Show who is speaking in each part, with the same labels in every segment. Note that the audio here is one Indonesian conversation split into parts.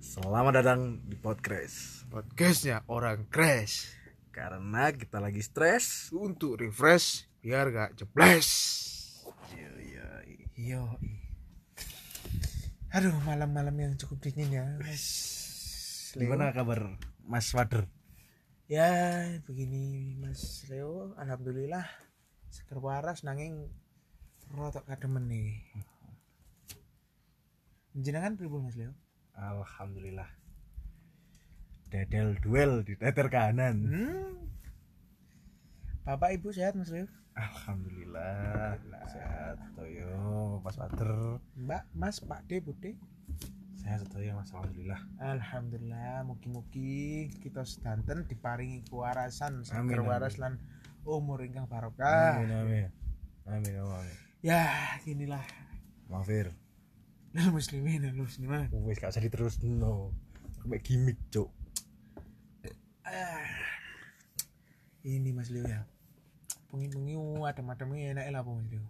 Speaker 1: Selamat datang di podcast
Speaker 2: podcastnya orang crash
Speaker 1: Karena kita lagi stres
Speaker 2: untuk refresh biar gak jeblas
Speaker 1: Yo yo
Speaker 2: yo aduh malam-malam yang cukup dingin ya mas Leo.
Speaker 1: Gimana kabar Mas Wader?
Speaker 2: ya begini mas Leo alhamdulillah seger waras nanging rotok kademen nih jenengan pribun mas Leo
Speaker 1: Alhamdulillah Dedel duel di teter kanan
Speaker 2: hmm. bapak ibu sehat mas Leo
Speaker 1: Alhamdulillah Sehat Toyo Mas Wader
Speaker 2: mbak mas pak de bude
Speaker 1: Sehat Toyo Mas Alhamdulillah
Speaker 2: Alhamdulillah, mugi-mugi kita sedanten diparingi
Speaker 1: Amin,
Speaker 2: kewarasan, seger
Speaker 1: amin.
Speaker 2: waras lan umur ingkang barokah.
Speaker 1: Amin amin Amin amin
Speaker 2: Ya, inilah
Speaker 1: Maafir
Speaker 2: Nal muslimin, nal muslimat.
Speaker 1: Wes gak usah diterus no Kayak gimmick cok
Speaker 2: Ah. Ini Mas Leo ya. uh, Pengi-pengi adem-ademnya enak lah apa, Mas Leo.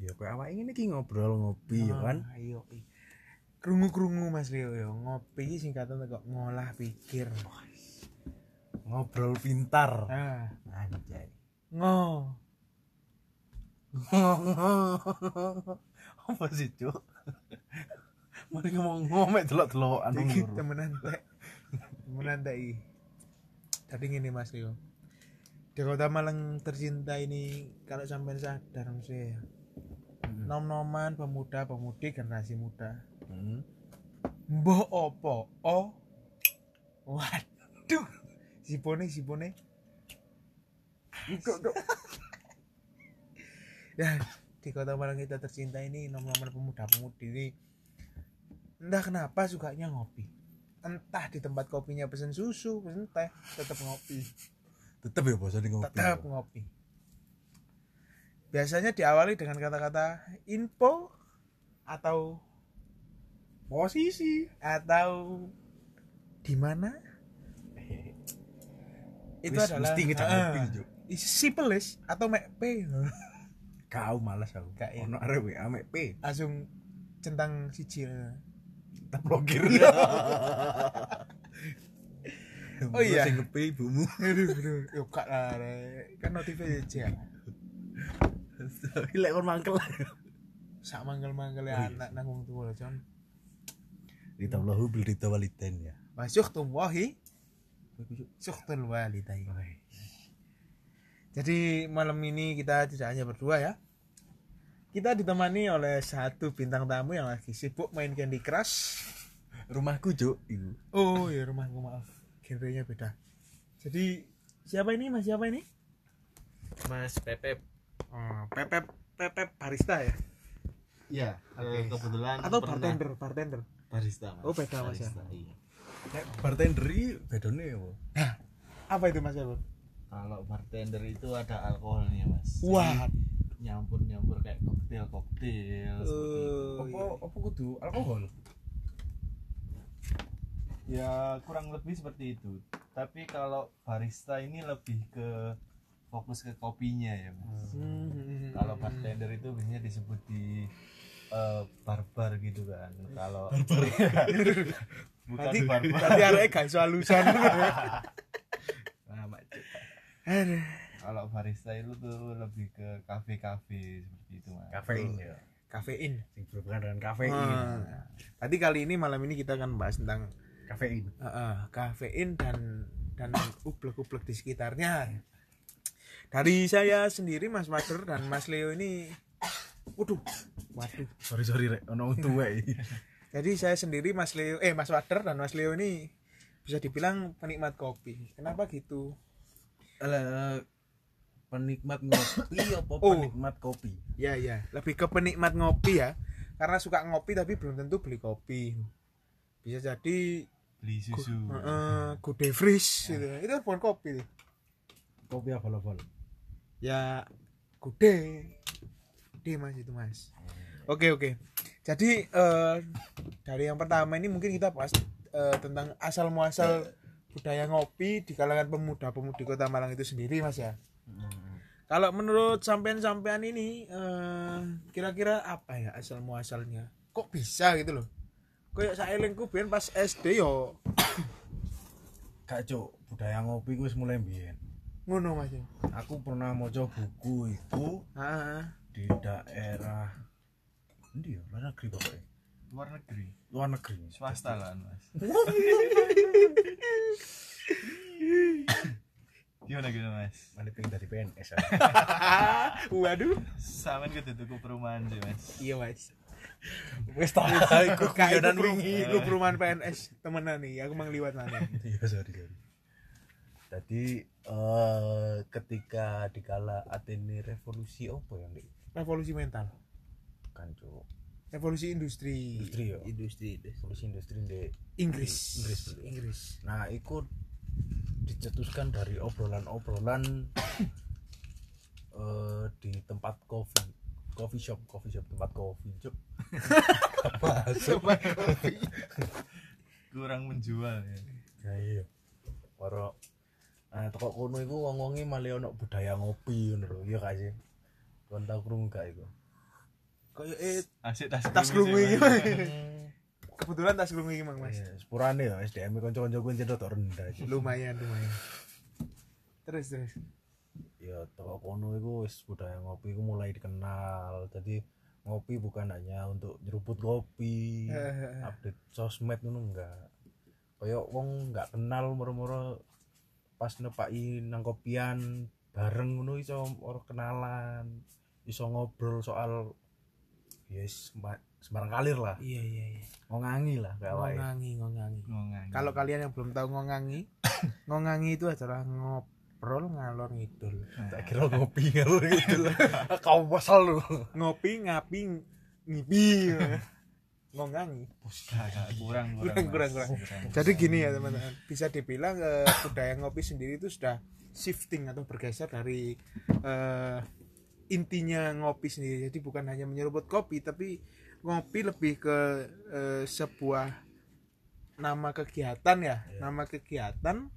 Speaker 1: Ya kayak awak ini ki ngobrol ngopi ya kan
Speaker 2: Ah, Ayo. i. Krungu-krungu Mas Leo ya, ngopi iki singkatan kok ngolah pikir.
Speaker 1: Ngobrol pintar
Speaker 2: Ah,
Speaker 1: Anjay
Speaker 2: ngo.
Speaker 1: apa sih cuk mereka mau ngomek telok telokan
Speaker 2: Iki temenan teh. Temenan teh. iki. Tapi ngene Mas Rio. Di kota Malang tercinta ini kalau sampai sadar Mas Rio, ya. Nom-noman pemuda pemudi generasi muda.
Speaker 1: Hmm?
Speaker 2: Mbok opo o. Waduh. Sipone sipone. Ya, di kota Malang kita tercinta ini nom-noman pemuda pemudi ini entah kenapa sukanya ngopi. Entah di tempat kopinya pesen susu, pesen teh, tetap ngopi.
Speaker 1: tetep ya bosan di ngopi
Speaker 2: tetap ngopi biasanya diawali dengan kata-kata info atau
Speaker 1: posisi
Speaker 2: atau di mana itu
Speaker 1: Wis,
Speaker 2: adalah
Speaker 1: mesti ngejak
Speaker 2: Ah,
Speaker 1: ngopi, Juk.
Speaker 2: is- sipelis atau mekp
Speaker 1: kau malas aku
Speaker 2: Gak
Speaker 1: ono
Speaker 2: enak.
Speaker 1: arek WA mek P
Speaker 2: langsung centang siji
Speaker 1: kita blokir
Speaker 2: Oh iya.
Speaker 1: sing ngepi ibumu
Speaker 2: aduh aduh yo kak lah Rek. kan notifnya siji ya
Speaker 1: tapi lek kon mangkel
Speaker 2: sak manggel manggel
Speaker 1: Oh, iya.
Speaker 2: anak nang wong tuwa Jon
Speaker 1: ditablahu bil ditawaliten ya
Speaker 2: wasyuh tumwahi syuhtul walidai Jadi malam ini kita tidak hanya berdua ya. Kita ditemani oleh satu bintang tamu yang lagi sibuk main Candy Crush.
Speaker 1: rumahku cuk iku
Speaker 2: Oh ya rumahku maaf, genrenya beda. Jadi siapa ini mas siapa ini?
Speaker 3: Mas Pepep.
Speaker 2: Oh, Pepep Pepep barista ya?
Speaker 3: Iya,
Speaker 2: Oke.
Speaker 3: eh, kebetulan
Speaker 2: Atau
Speaker 3: pernah-
Speaker 2: bartender bartender?
Speaker 3: barista, Mas.
Speaker 2: Oh, beda, Mas, ya.
Speaker 3: Barista, iya.
Speaker 1: nek bartender iki bedone ya apa?
Speaker 2: Apa itu mas Pepep?
Speaker 3: Kalau bartender itu ada alkoholnya, Mas.
Speaker 2: Wah,
Speaker 3: Nyampur-nyampur kayak koktail-koktail seperti itu.
Speaker 2: eh,
Speaker 1: apa apa kudu alkohol
Speaker 3: Ya, kurang lebih seperti itu. Tapi kalau barista ini lebih ke fokus ke kopinya ya, Mas.
Speaker 2: Hmm.
Speaker 3: Kalau bartender itu biasanya disebut di eh, barbar gitu kan. Kalau bukan
Speaker 2: Berarti-
Speaker 3: barbar.
Speaker 2: Berarti arahnya gak iso alusan.
Speaker 3: Nah, Mak Cuk.
Speaker 2: Aduh.
Speaker 3: kalau barista itu tuh lebih ke kafe-kafe seperti itu mas
Speaker 1: kafein ya
Speaker 2: Kafein.
Speaker 1: sing berhubungan dengan kafein
Speaker 2: Ah. Berarti kali ini malam ini kita akan bahas tentang
Speaker 1: kafein
Speaker 2: Heeh, kafein dan dan ublek-ublek di sekitarnya. Dari saya sendiri Mas Wader dan Mas Leo ini waduh, waduh.
Speaker 1: sorry sorry rek ono tuwa iki
Speaker 2: Jadi saya sendiri Mas Leo eh Mas Wader dan Mas Leo ini bisa dibilang penikmat kopi. Kenapa gitu?
Speaker 1: Ala, penikmat ngopi apa
Speaker 2: Oh.
Speaker 1: penikmat kopi
Speaker 2: Ya ya, lebih ke penikmat ngopi ya. Karena suka ngopi tapi belum tentu beli kopi. Bisa jadi
Speaker 3: beli susu
Speaker 2: heeh, Goodie Fresh gitu. Itu bukan kopi tuh.
Speaker 1: kopi apa level
Speaker 2: ya gede gede mas itu mas oke oke jadi eh, dari yang pertama ini mungkin kita bahas eh, tentang asal muasal budaya ngopi di kalangan pemuda pemudi kota Malang itu sendiri mas ya kalau menurut sampean-sampean ini eh, kira-kira apa ya asal muasalnya kok bisa gitu loh Kayak saelingku biyen pas SD yo
Speaker 1: Gak cuk, budaya ngopi ku wis mulai mbiyen.
Speaker 2: ngono Mas. ya.
Speaker 1: Aku pernah maca buku iku
Speaker 2: Heeh.
Speaker 1: di daerah Endi ya? Luar negeri pokoknya.
Speaker 3: luar negeri
Speaker 1: Luar negeri.
Speaker 3: swasta lah mas gimana gimana mas
Speaker 1: Mana kering dari PNS ya.
Speaker 2: Waduh.
Speaker 3: samen gitu tuku perumahan sih mas
Speaker 2: Iya Mas.
Speaker 1: Wis tak iku
Speaker 2: Kayak
Speaker 1: kayonan
Speaker 2: iku perum-
Speaker 1: wingi.
Speaker 2: iku perumahan PNS temenan nih, aku mang liwat nane.
Speaker 1: Iya, sorry, sorry. Tadi eh ketika dikala Athene revolusi apa yang di
Speaker 2: Revolusi mental,
Speaker 1: bukan cuk
Speaker 2: revolusi industri.
Speaker 1: industri ya
Speaker 4: industri industri.
Speaker 1: revolusi industri di
Speaker 2: Inggris.
Speaker 1: Inggris, betul.
Speaker 2: Inggris.
Speaker 1: nah itu dicetuskan dari obrolan-obrolan eh di tempat kopi coffee shop coffee shop tempat kopi cuk apa
Speaker 3: kurang menjual ya
Speaker 1: ya iya para nah toko kono iku wong-wonge malah ono budaya ngopi ngono lho iya gak sih kon tau krungu gak iku
Speaker 2: Kayak eh
Speaker 3: asik tas
Speaker 2: tas
Speaker 3: kerungu
Speaker 2: kerungu
Speaker 3: sih,
Speaker 2: iki.
Speaker 3: Mas.
Speaker 2: Mas. Kebetulan tas kerungu iki, Mang Mas.
Speaker 1: Iya, sepurane ya SDM kanca-kanca kuwi cedok tok rendah sih.
Speaker 2: Lumayan, lumayan. Terus, terus.
Speaker 1: ya toko kono itu wis budaya ngopi itu mulai dikenal jadi ngopi bukan hanya untuk nyeruput kopi
Speaker 2: Iya. Hehehe.
Speaker 1: update sosmed itu enggak kayak wong nggak kenal moro-moro pas nepaki nang kopian bareng ngono iso orang kenalan iso ngobrol soal yes semba- sembarang kalir lah
Speaker 2: Iya, iya, iya.
Speaker 1: ngongangi lah kayak awake.
Speaker 2: Ngongangi, ngongangi.
Speaker 3: Ngongang.
Speaker 2: Kalau kalian yang belum tahu ngongangi, ngongangi itu adalah ngobrol ngalor ngidul.
Speaker 1: tak kira ngopi ngalur gitu lah kau pasal lu
Speaker 2: Ngopi, ngapi, ngipi. ngongangi.
Speaker 3: Nah, kurang kurang
Speaker 2: Kurang,
Speaker 3: Mas.
Speaker 2: kurang, kurang. Jadi gini ya teman-teman, bisa dibilang eh, budaya ngopi sendiri itu sudah shifting atau bergeser dari eh, intinya ngopi sendiri. Jadi bukan hanya menyeruput kopi, tapi ngopi lebih ke eh, sebuah nama kegiatan ya, nama kegiatan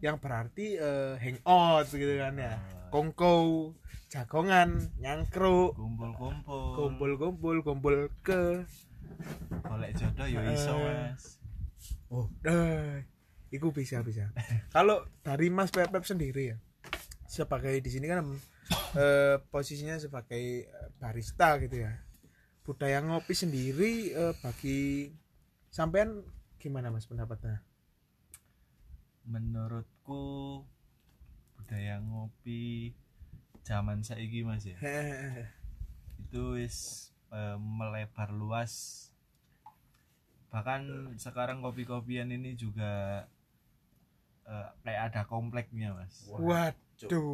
Speaker 2: yang berarti eh, hangout gitu kan ya, kongko, jagongan, nyangkruk,
Speaker 3: kumpul-kumpul
Speaker 2: kumpul-kumpul, kumpul ke
Speaker 3: golek jodoh yo iso mas
Speaker 1: Oh,
Speaker 2: Eh, iku bisa bisa. Kalau dari Mas Pepep sendiri ya, sebagai di sini kan eh, posisinya sebagai eh, barista gitu ya. Budaya ngopi sendiri eh, bagi sampean gimana Mas pendapatnya?
Speaker 3: menurutku budaya ngopi zaman saiki mas ya
Speaker 2: Hehehe.
Speaker 3: itu is eh, melebar luas bahkan sekarang kopi-kopian ini juga eh, kayak ada kompleknya mas
Speaker 2: waduh, waduh,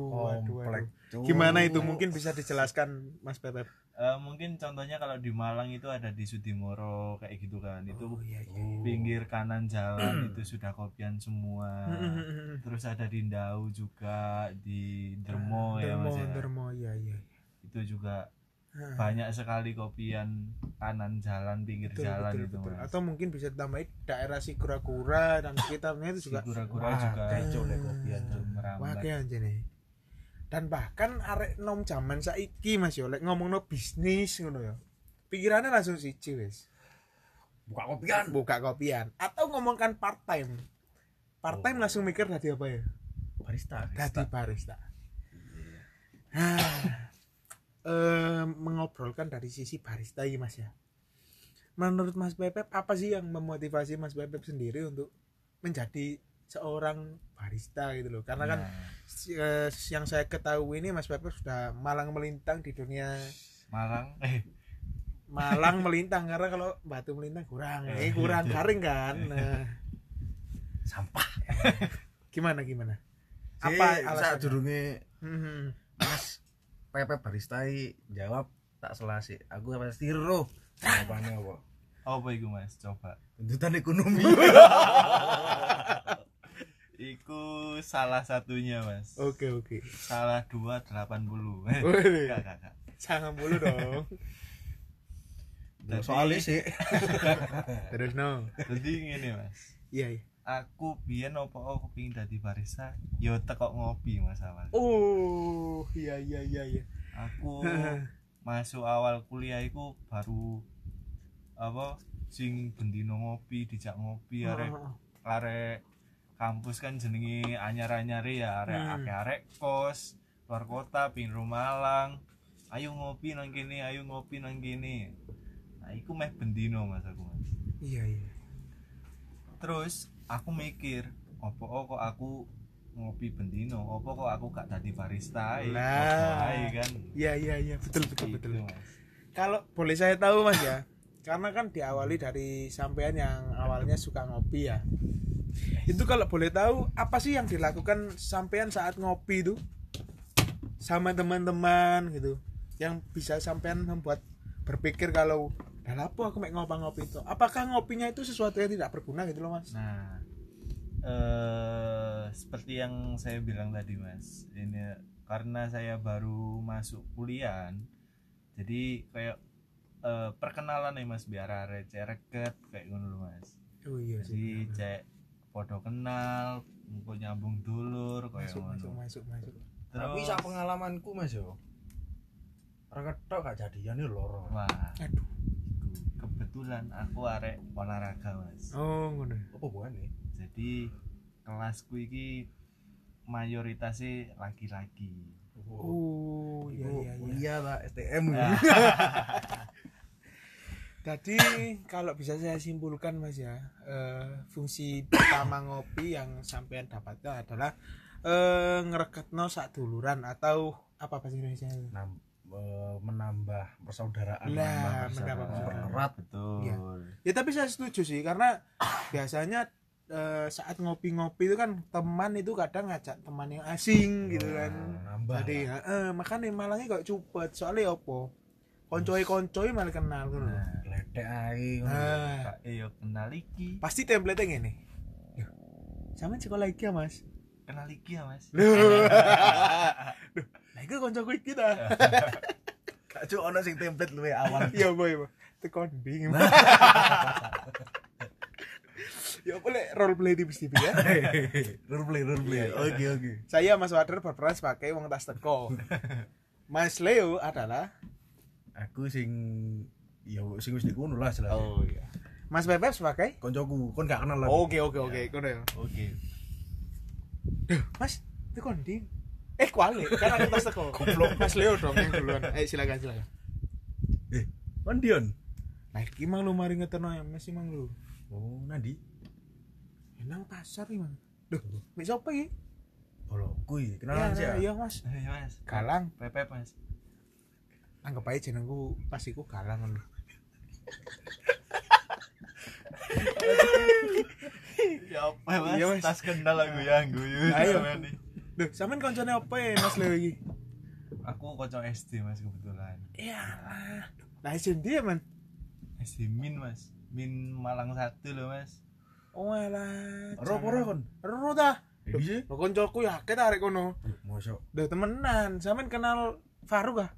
Speaker 1: komplek
Speaker 2: waduh.
Speaker 1: Cuk. Oh,
Speaker 2: Gimana itu mungkin bisa dijelaskan Mas Pepep?
Speaker 3: Eh, mungkin contohnya kalau di Malang itu ada di Sudimoro kayak gitu kan itu
Speaker 2: iya,
Speaker 3: pinggir kanan
Speaker 2: Hmm.
Speaker 3: jalan itu sudah kopian semua
Speaker 2: Mm-mm.
Speaker 3: terus ada di Ndau juga di Dermo ya mas ya
Speaker 2: dermo, iya, iya.
Speaker 3: itu juga
Speaker 2: Ah,
Speaker 3: banyak sekali kopian kanan jalan pinggir
Speaker 2: betul,
Speaker 3: jalan
Speaker 2: betul,
Speaker 3: gitu
Speaker 2: betul.
Speaker 3: mas
Speaker 2: Atau mungkin bisa ditambahin daerah Sigura-gura dan sekitarnya itu juga
Speaker 3: kura-kura
Speaker 1: Wah,
Speaker 3: juga
Speaker 1: kacau deh kopian
Speaker 3: itu
Speaker 1: Cuk.
Speaker 2: Wah
Speaker 3: merambat
Speaker 2: kayak anjir nih. Dan bahkan arek nom jaman saiki Mas yo lek ngomongno bisnis ngono ya. Pikirannya langsung siji wis.
Speaker 1: buka kan? kopian
Speaker 2: Buka kopian atau ngomongkan part time. Part
Speaker 3: Oh.
Speaker 2: time langsung mikir tadi apa ya?
Speaker 1: barista
Speaker 2: Tadi barista. Hah. Eh, mengobrolkan dari sisi barista ini Mas ya. Menurut Mas Bebep apa sih yang memotivasi Mas Bebep sendiri untuk menjadi seorang barista gitu loh. Karena kan si- eh, yang saya ketahui ini Mas Pepep sudah malang melintang di dunia
Speaker 3: Malang eh
Speaker 2: malang melintang karena kalau batu melintang kurang eh, kurang garing kan nah,
Speaker 1: sampah
Speaker 2: gimana gimana apa
Speaker 1: apa alasan
Speaker 2: alasannya?
Speaker 1: durunge
Speaker 2: Hmm,
Speaker 1: mas pepe barista i jawab tak selasi aku pasti roh jawabannya apa Iya.
Speaker 3: apa itu mas coba
Speaker 1: tuntutan ekonomi
Speaker 3: Iku salah satunya mas
Speaker 2: oke oke
Speaker 3: Salah dua delapan puluh
Speaker 2: Waduh.
Speaker 3: Enggak, enggak, enggak.
Speaker 2: jangan bulu dong
Speaker 1: Loh, soalnya sih
Speaker 2: terus no
Speaker 3: Jadi gini mas
Speaker 2: iya iya
Speaker 3: Aku biyen opo aku pingin dadi barista Yo tekok ngopi mas awal
Speaker 2: oh iya iya iya iya
Speaker 3: Aku masuk awal kuliah iku baru Apa sing bendino ngopi dijak ngopi arek
Speaker 2: Heeh.
Speaker 3: arek kampus kan jenenge anyar-anyare ya arek
Speaker 2: Hmm.
Speaker 3: arek kos luar kota pin Malang ayo ngopi nang kene ayo ngopi nang kene nah iku meh bendino mas aku mas
Speaker 2: iya iya
Speaker 3: terus aku mikir opo kok aku ngopi bendino opo kok aku gak dadi barista ae?
Speaker 2: Nah.
Speaker 3: Opo ae kan
Speaker 2: iya iya iya betul betul
Speaker 3: Gitu,
Speaker 2: betul
Speaker 3: Mas.
Speaker 2: kalau boleh saya tahu mas ya karena kan diawali dari sampean yang awalnya suka ngopi ya itu kalau boleh tahu apa sih yang dilakukan sampean saat ngopi itu sama teman-teman gitu yang bisa sampean membuat berpikir kalau dah lapo aku mek ngopang ngopi itu apakah ngopinya itu sesuatu yang tidak berguna gitu loh mas
Speaker 3: Nah, eh seperti yang saya bilang tadi mas, ini karena saya baru masuk kuliah, jadi kayak eh, perkenalan nih mas biar arek cek reket kayak ngono lho, mas.
Speaker 2: oh iya
Speaker 3: Jadi cek podo kenal, engko nyambung dulur kayak
Speaker 2: masuk masuk
Speaker 3: ngono.
Speaker 2: masuk masuk
Speaker 1: tapi
Speaker 3: Terus,
Speaker 1: sak pengalamanku mas yo orang ketok gak jadian yo loro
Speaker 3: wah,
Speaker 2: aduh
Speaker 3: iku. kebetulan aku arek olahraga mas.
Speaker 2: oh ngono
Speaker 1: apa bukan nih
Speaker 3: Jadi kelasku iki mayoritasnya laki-laki.
Speaker 2: oh iya iya iya
Speaker 1: iya lah STM ya.
Speaker 3: Nah,
Speaker 2: Jadi kalau bisa saya simpulkan mas ya eh, fungsi pertama ngopi yang sampean dapatkan adalah eh, ngerekatno sak duluran atau apa bahasa Indonesia
Speaker 1: Nam- eh, menambah persaudaraan
Speaker 2: Lah,
Speaker 1: Nah, menambah
Speaker 2: menambah
Speaker 1: persaudaraan.
Speaker 2: persaudaraan.
Speaker 1: Mempererat.
Speaker 3: betul
Speaker 2: Iya. Ya tapi saya setuju sih karena biasanya eh, saat ngopi-ngopi itu kan teman itu kadang ngajak teman yang asing gitu kan.
Speaker 1: Nah, nambah
Speaker 2: Jadi
Speaker 1: lah.
Speaker 2: eh, makanya malangnya kok cupet soalnya opo koncoi-koncoi malah kenal kan.
Speaker 3: nah
Speaker 1: Ledek ae ngono.
Speaker 2: Nah,
Speaker 3: Pak Eyo kenal iki
Speaker 2: pasti template nya ini. Sama sekolah iki ya mas.
Speaker 3: kenal iki ya mas
Speaker 2: Lah iku kanca kuwi kita.
Speaker 1: Gak cuk ono sing template luwe awal.
Speaker 2: Ya boy, boy. Teko ding. Ya boleh role play di TV ya.
Speaker 1: Rurble, rurble. Oke, oke.
Speaker 2: Saya Mas Wader berperan sebagai wong tas teko. Mas Leo adalah
Speaker 1: Aku sing ya sing wis dikono lah jelas.
Speaker 3: Oh,
Speaker 2: iya. Mas Bebep sebagai
Speaker 1: Koncoku, kon gak kenal lah.
Speaker 2: Oke oke oke, kono ya.
Speaker 3: oke
Speaker 2: Duh, Mas, teko ding. Eh kuali, kan aku tas teko. Goblok. Mas Leo dong yang duluan. Eh silakan silakan.
Speaker 1: Eh, kon Dion.
Speaker 2: Nah, iki mang lu mari ngeterno ya, Mas mang lu.
Speaker 1: Oh, Nandi.
Speaker 2: Ya, Nang pasar iki mang. Duh, mek sapa iki?
Speaker 1: Bolo, kuwi kenalan sih.
Speaker 2: Ya,
Speaker 1: ya?
Speaker 2: Iya, Mas.
Speaker 3: Ayo, mas
Speaker 2: Galang.
Speaker 3: pepe mas
Speaker 2: anggap aja jenengku pas iku galang lho.
Speaker 3: ya apa mas,
Speaker 2: Iya, Mas.
Speaker 3: tas kenal aku ya guyu
Speaker 2: Ayo.
Speaker 3: Sama nih.
Speaker 2: Duh, sampean koncone apa ya Mas Leo iki?
Speaker 3: aku kocok SD mas kebetulan
Speaker 2: Iya. Lah e, isin dia man.
Speaker 3: SD min mas min Malang satu loh mas
Speaker 2: Oh alah.
Speaker 1: Ro apa ro ah. kon?
Speaker 2: Ro ta.
Speaker 1: Eh, Di sih.
Speaker 2: Lo koncoku ya kita arek kono.
Speaker 1: Mosok
Speaker 2: Duh temenan, sampean kenal Faruk ah?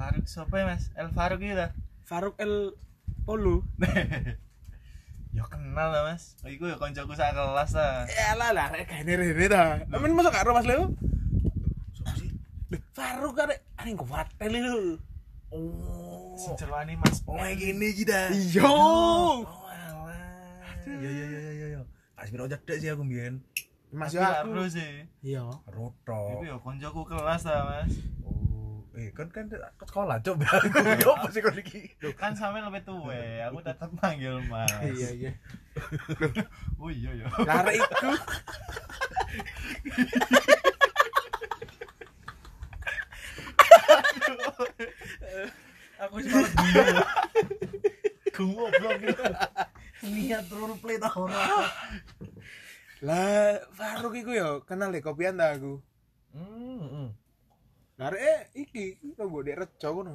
Speaker 3: Faruk siapa ya mas El Faruk gitu lah
Speaker 2: Faruk El Olu.
Speaker 3: ya kenal lah mas iku ya koncoku sak kelas lah
Speaker 2: Ya lah lah arek gaene rene ta. Sampean masuk karo Mas Leo?
Speaker 1: Sopo sih?
Speaker 2: Duh, Faruk arek arek kuwatel lho.
Speaker 1: Oh.
Speaker 3: sejerwani mas
Speaker 1: Oh, kayak gini kita.
Speaker 2: Iya.
Speaker 1: Oh, alah. Ya ya ya ya ya, ya. Kasih rojak dek sih aku mbiyen.
Speaker 2: Mas
Speaker 3: Tapi
Speaker 2: yo
Speaker 3: lah,
Speaker 2: aku.
Speaker 3: bro sih
Speaker 2: Iya.
Speaker 3: Iku
Speaker 1: Rotok.
Speaker 3: ya koncoku kelas lah mas
Speaker 1: Oh, eh kan kan ke sekolah coba. Yo apa sih kon iki?
Speaker 3: Loh, kan sampe lebih tua aku tetap manggil mas
Speaker 2: Iya iya.
Speaker 3: oh iya iya
Speaker 2: Lah arek iku
Speaker 1: Aku sih malah bingung. Goblok gitu. Niat role play ta ora.
Speaker 2: Lah, Faruk iku ya kenal deh kopian ta aku.
Speaker 1: Hmm.
Speaker 2: Lah arek eh, iki nunggu dek rejo kono.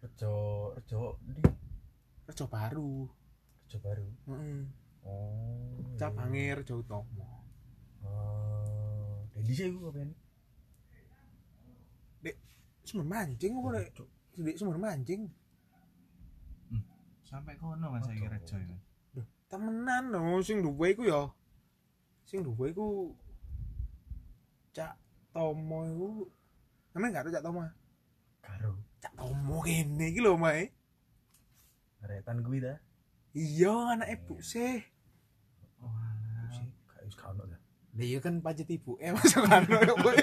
Speaker 1: Rejo, rejo di
Speaker 2: Rejo baru.
Speaker 1: rejo baru.
Speaker 2: Heeh.
Speaker 1: Oh.
Speaker 2: Cabange rejo utomo.
Speaker 1: Oh. Dendi sih gua kan.
Speaker 2: Sumber mancing kok rek. Dek sumber mancing.
Speaker 3: sampai kono mas saya kira coy
Speaker 2: Temenan no sing duwe iku ya. Sing duwe iku Cak Tomo iku. Namanya gak ada Cak Tomo.
Speaker 1: Karo.
Speaker 2: eh. Cak Tomo kene iki lho, Mae.
Speaker 1: Retan kuwi ta.
Speaker 2: iya anak ibu sih
Speaker 1: Gak wis gak ono ta.
Speaker 2: Lah iya kan pacet ibu eh masuk kano ya boy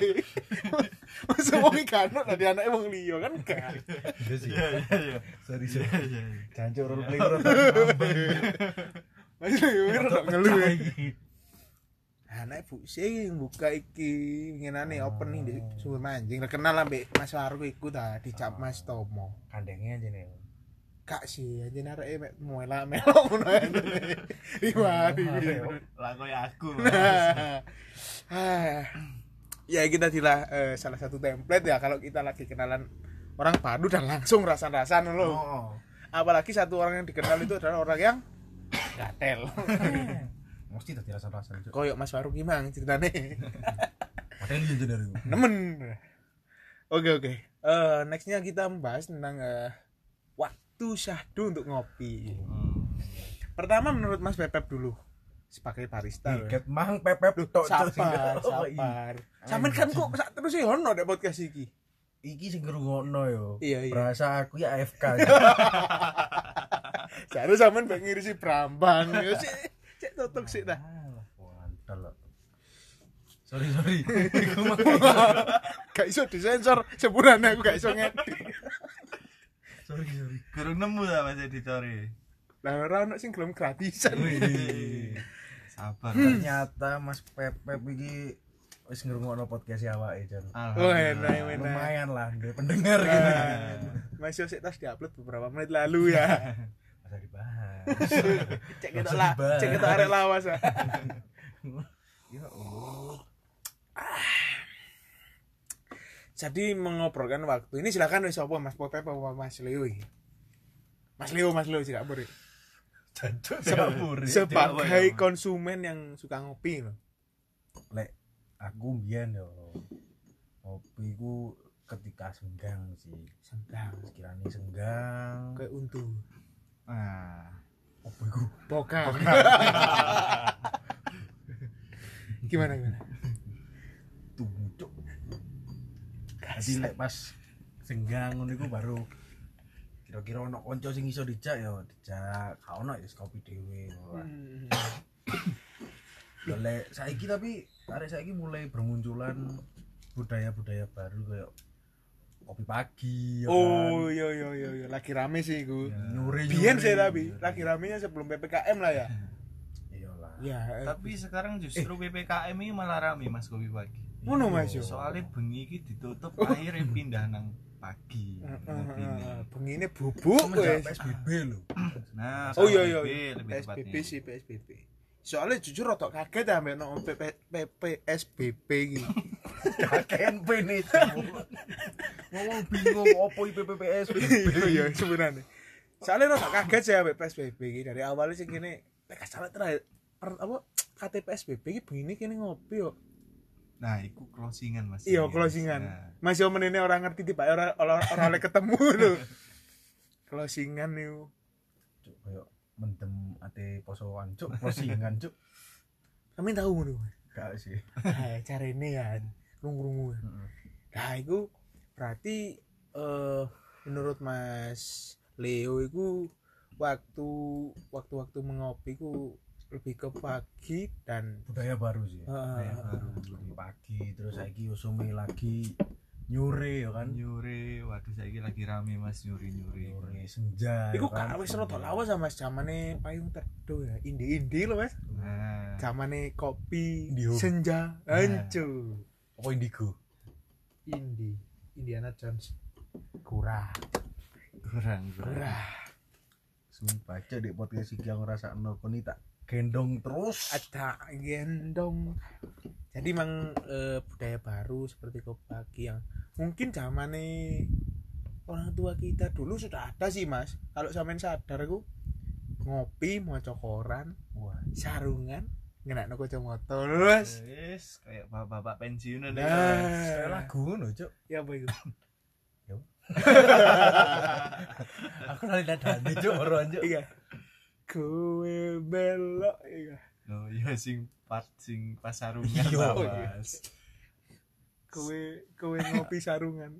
Speaker 2: masuk wong kano dari anaknya wong liya kan gak
Speaker 1: Iya sih.
Speaker 3: iya
Speaker 1: Sorry sorry.
Speaker 3: iya
Speaker 1: Jancuk role play ora nambah.
Speaker 2: masuk ya udah ngeluh ya.
Speaker 1: iki.
Speaker 2: anak ibu sih buka iki ngenane opening di sumber manjing terkenal ambek Mas Waru iku ta dicap Mas Tomo
Speaker 1: Kandengnya aja nih.
Speaker 2: kak sih aja narek mek muela melok ngono ae. Iwari.
Speaker 3: lah kayak aku
Speaker 2: Nah. Ah. Ya kita tadilah eh, salah satu template ya kalau kita lagi kenalan orang baru dan langsung rasa-rasan loh.
Speaker 1: Oh.
Speaker 2: Apalagi satu orang yang dikenal itu adalah orang yang gatel.
Speaker 1: Mesti tadi rasa-rasa. Cuk.
Speaker 2: Koyok Mas Faru gimang ceritane.
Speaker 1: Padahal iya jeneng aku.
Speaker 2: Nemen. Oke oke. Eh, nextnya kita membahas tentang eh, waktu syahdu untuk ngopi. Pertama menurut Mas Pepep dulu sebagai barista. loh.
Speaker 1: Tiket mang pepep tok Cuk.
Speaker 2: sabar
Speaker 1: Oh, iya.
Speaker 2: sabar sampean kan kok sak terus e ono nek podcast iki
Speaker 1: Iki sing ngrungokno yo.
Speaker 2: Iya, iya.
Speaker 1: Berasa aku ya AFK.
Speaker 2: jare sampean mbak ngirisi brambang ya sik cek tutuk sik dah
Speaker 1: Wantal. Sorry sorry. Iku mah
Speaker 2: gak iso disensor sepurane aku gak iso ngedit
Speaker 1: sorry sorry.
Speaker 3: kurang nemu lah mas editori
Speaker 2: lah ora ono sing gelem gratisan
Speaker 1: Iya.
Speaker 2: Iya.
Speaker 1: Wih.
Speaker 3: sabar
Speaker 1: Ternyata Mas Pepep iki wis ngrungokno podcast awake, Jan.
Speaker 2: oh
Speaker 3: alhamdulillah
Speaker 2: enak enak
Speaker 1: Lumayan lah, duwe pendengar
Speaker 2: Ah.
Speaker 1: gitu.
Speaker 2: Nah, masih sik tas diupload beberapa menit lalu ya
Speaker 1: Masa dibahas.
Speaker 2: cek kita lah cek kita arek lawas ah.
Speaker 1: Ya Allah.
Speaker 2: Ah. jadi mengobrolkan waktu ini silakan wis apa Mas Popep apa Mas Leo iki? Mas Leo Mas Leo tidak boleh
Speaker 1: Jancuk ya,
Speaker 2: sebagai konsumen yang suka ngopi loh
Speaker 1: lek aku mbiyen yo ngopi ku ketika senggang sih.
Speaker 2: senggang
Speaker 1: Sekiranya senggang.
Speaker 2: kayak untu
Speaker 3: nah
Speaker 2: Ah.
Speaker 1: Opo iku?
Speaker 2: pokal gimana gimana
Speaker 1: tunggu cuk jadi lek pas senggang ngono iku baru kira-kira ono konco sing iso dijak ya dijak gak ono ya wis kopi dhewe Lho, lek saiki tapi arek saiki mulai bermunculan budaya-budaya baru kayak kopi pagi ya
Speaker 2: oh yo yo yo yo lagi rame sih gue
Speaker 1: kan nyuri
Speaker 2: Biyen sih tapi lagi ramenya sebelum ppkm lah ya
Speaker 1: iyalah
Speaker 2: ya eh,
Speaker 3: tapi sekarang justru PPKM ini malah rame mas kopi pagi
Speaker 2: ngono mas yo
Speaker 3: soalnya bengi ini ditutup
Speaker 2: Oh.
Speaker 3: akhirnya pindah nang pagi Ngerti nih.
Speaker 2: bengi ini bubuk
Speaker 1: semenjak
Speaker 2: wes.
Speaker 1: PSBB lho
Speaker 3: nah
Speaker 2: oh
Speaker 3: kalau
Speaker 2: iya iya
Speaker 3: PB
Speaker 2: iya.
Speaker 3: lebih
Speaker 2: PSBB
Speaker 3: tepatnya.
Speaker 2: sih PSBB soalnya jujur rotok kaget ya mbak no PSBB gitu
Speaker 1: kakek pene e, Cuk. ngomong bingung opo IPPPS
Speaker 2: iya sebenarnya soalnya rasa kaget sih ambek PSBB iki dari awalnya sih gini nek salah terakhir per, apa KTP PSBB iki begini kini ngopi yo
Speaker 3: nah itu closingan mas
Speaker 2: iya closingan
Speaker 3: Nah,
Speaker 2: masih omen ini orang ngerti tiba orang orang orang oleh ketemu lho closingan nih
Speaker 1: cuk koyo mendem ate posoan cuk closingan cuk
Speaker 2: kami tahu lho
Speaker 1: gak sih
Speaker 2: nah, cara ini ya rungu rungu
Speaker 1: Heeh.
Speaker 2: nah itu berarti eh menurut Mas Leo itu waktu waktu waktu mengopi ku lebih ke pagi dan eh,
Speaker 1: budaya baru sih
Speaker 2: Budaya
Speaker 1: Ah, baru lebih pagi terus saiki usumi lagi nyure ya kan
Speaker 3: nyuri waduh saya lagi rame mas nyuri nyuri
Speaker 1: nyure senja ya kan?
Speaker 2: Iku gak wis rada lawas sama zamane payung teduh ya, indi-indi lho Mas.
Speaker 3: nah
Speaker 2: Zamane kopi,
Speaker 1: Indio.
Speaker 2: senja, hancur.
Speaker 1: apa indigo
Speaker 2: Indi, Indiana Jones. Kurang.
Speaker 3: kurang kurang
Speaker 2: Kurang.
Speaker 1: sumpah cuk di podcast iki aku ngrasakno koni tak gendong terus
Speaker 2: Ada gendong. Jadi mang eh, budaya baru seperti kopi pagi yang mungkin zamane orang tua kita dulu sudah ada sih Mas. Kalau sampean sadar ku ngopi, maca koran,
Speaker 1: wah
Speaker 2: sarungan, ngenakno kacamata, Mas.
Speaker 3: Wis, kayak bapak-bapak pensiunan ya, Mas.
Speaker 1: kayak
Speaker 2: Nah,
Speaker 1: lagu ngono cuk
Speaker 2: ya apa itu?
Speaker 1: aku lali dadane cuk ora cuk
Speaker 2: Iya. Kowe belok iya.
Speaker 3: Oh iya sing part sing pas sarungan
Speaker 1: Iya.
Speaker 3: lah,
Speaker 2: Oh, iya.
Speaker 3: Mas.
Speaker 2: Kowe kowe ngopi sarungan.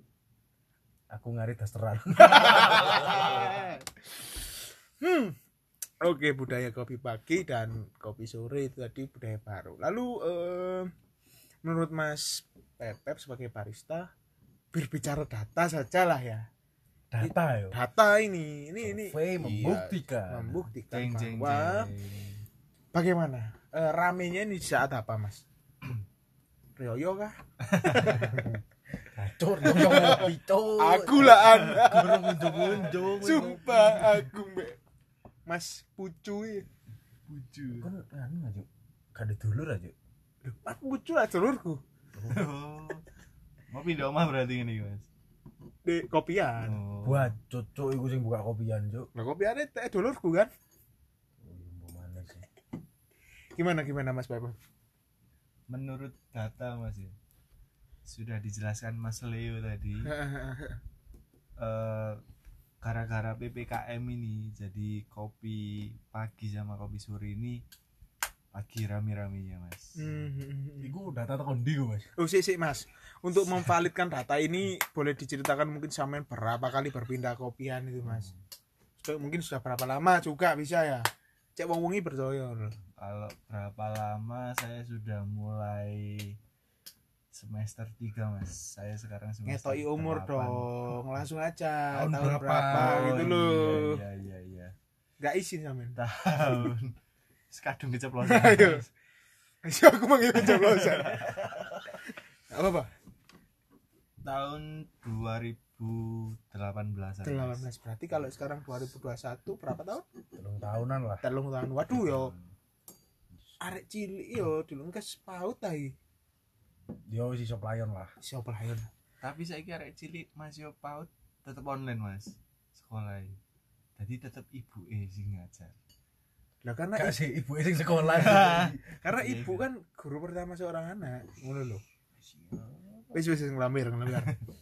Speaker 1: aku ngari dasteran
Speaker 2: Hmm. Oke, budaya kopi pagi dan kopi sore itu tadi budaya baru. Lalu eh, menurut Mas Pepep sebagai barista berbicara data sajalah ya.
Speaker 1: data yo
Speaker 2: Data ini, ini ini
Speaker 1: survei membuktikan
Speaker 2: membuktikan
Speaker 3: Jeng, jeng,
Speaker 1: Eh,
Speaker 2: bahwa bagaimana Eh, ramenya ini di saat apa, Mas? Rioyo kah?
Speaker 1: Acur dong yang ngopi
Speaker 3: Oh,
Speaker 1: cuk.
Speaker 2: Aku lah
Speaker 3: iya.
Speaker 2: an.
Speaker 1: Kurang unjung-unjung.
Speaker 2: Sumpah aku, Mbak. Mas Pucu. ya.
Speaker 3: Buju.
Speaker 1: Kan anu aja. Kada dulur ah, aja.
Speaker 2: Loh, Mas Pucu lah telurku.
Speaker 3: Oh. Mau pindah rumah berarti ini mas.
Speaker 2: Di kopian.
Speaker 3: Oh.
Speaker 1: Buat cocok iku sing buka kopian cuk.
Speaker 2: Nah, kopian itu eh, dulurku kan.
Speaker 1: Oh, iya, mbok mana sih?
Speaker 2: Gimana gimana Mas Bapak?
Speaker 3: Menurut data mas ya. Sudah dijelaskan Mas Leo tadi. eh, gara-gara PPKM ini jadi kopi pagi sama kopi sore ini pagi rame-ramenya mas
Speaker 2: Hmm.
Speaker 1: Iku data tekan ndi Mas?
Speaker 2: Oh, sih, sih, Mas. Untuk memvalidkan data ini boleh diceritakan mungkin sampean berapa kali berpindah kopian itu, Mas. Sudah- mungkin sudah berapa lama juga bisa ya. Cek wong wengi percaya. loh.
Speaker 3: kalau berapa lama saya sudah mulai semester 3 mas saya sekarang semester
Speaker 2: Ngetoki umur
Speaker 3: delapan.
Speaker 2: dong. Langsung aja
Speaker 1: Tahun
Speaker 2: tahun,
Speaker 1: berapa?
Speaker 2: berapa, gitu
Speaker 3: iya,
Speaker 2: loh.
Speaker 3: iya iya iya
Speaker 2: Gak izin sampean.
Speaker 3: tahun sekadung keceplosan
Speaker 2: Ayo.
Speaker 3: Mas.
Speaker 2: Iya, aku mengikuti jeblosan. Gak apa-apa.
Speaker 3: tahun 2018
Speaker 2: 18 berarti kalau sekarang 2021 berapa tahun?
Speaker 1: Telung tahunan lah.
Speaker 2: Telung tahun. Waduh yo. Arek cilik yo dulu engkes paut ae.
Speaker 1: Dia wis iso playon lah.
Speaker 2: Siapa lah yo.
Speaker 3: tapi saya kira cilik mas yo paut tetap online mas sekolah e. jadi tetap ibu eh sing ngajar
Speaker 2: Lah karena
Speaker 1: Gak sih ibu sing sekolah.
Speaker 2: karena
Speaker 3: Iya,
Speaker 2: ibu
Speaker 3: iya.
Speaker 2: kan guru pertama seorang anak ngono lho wis wis ngelamir ngelamir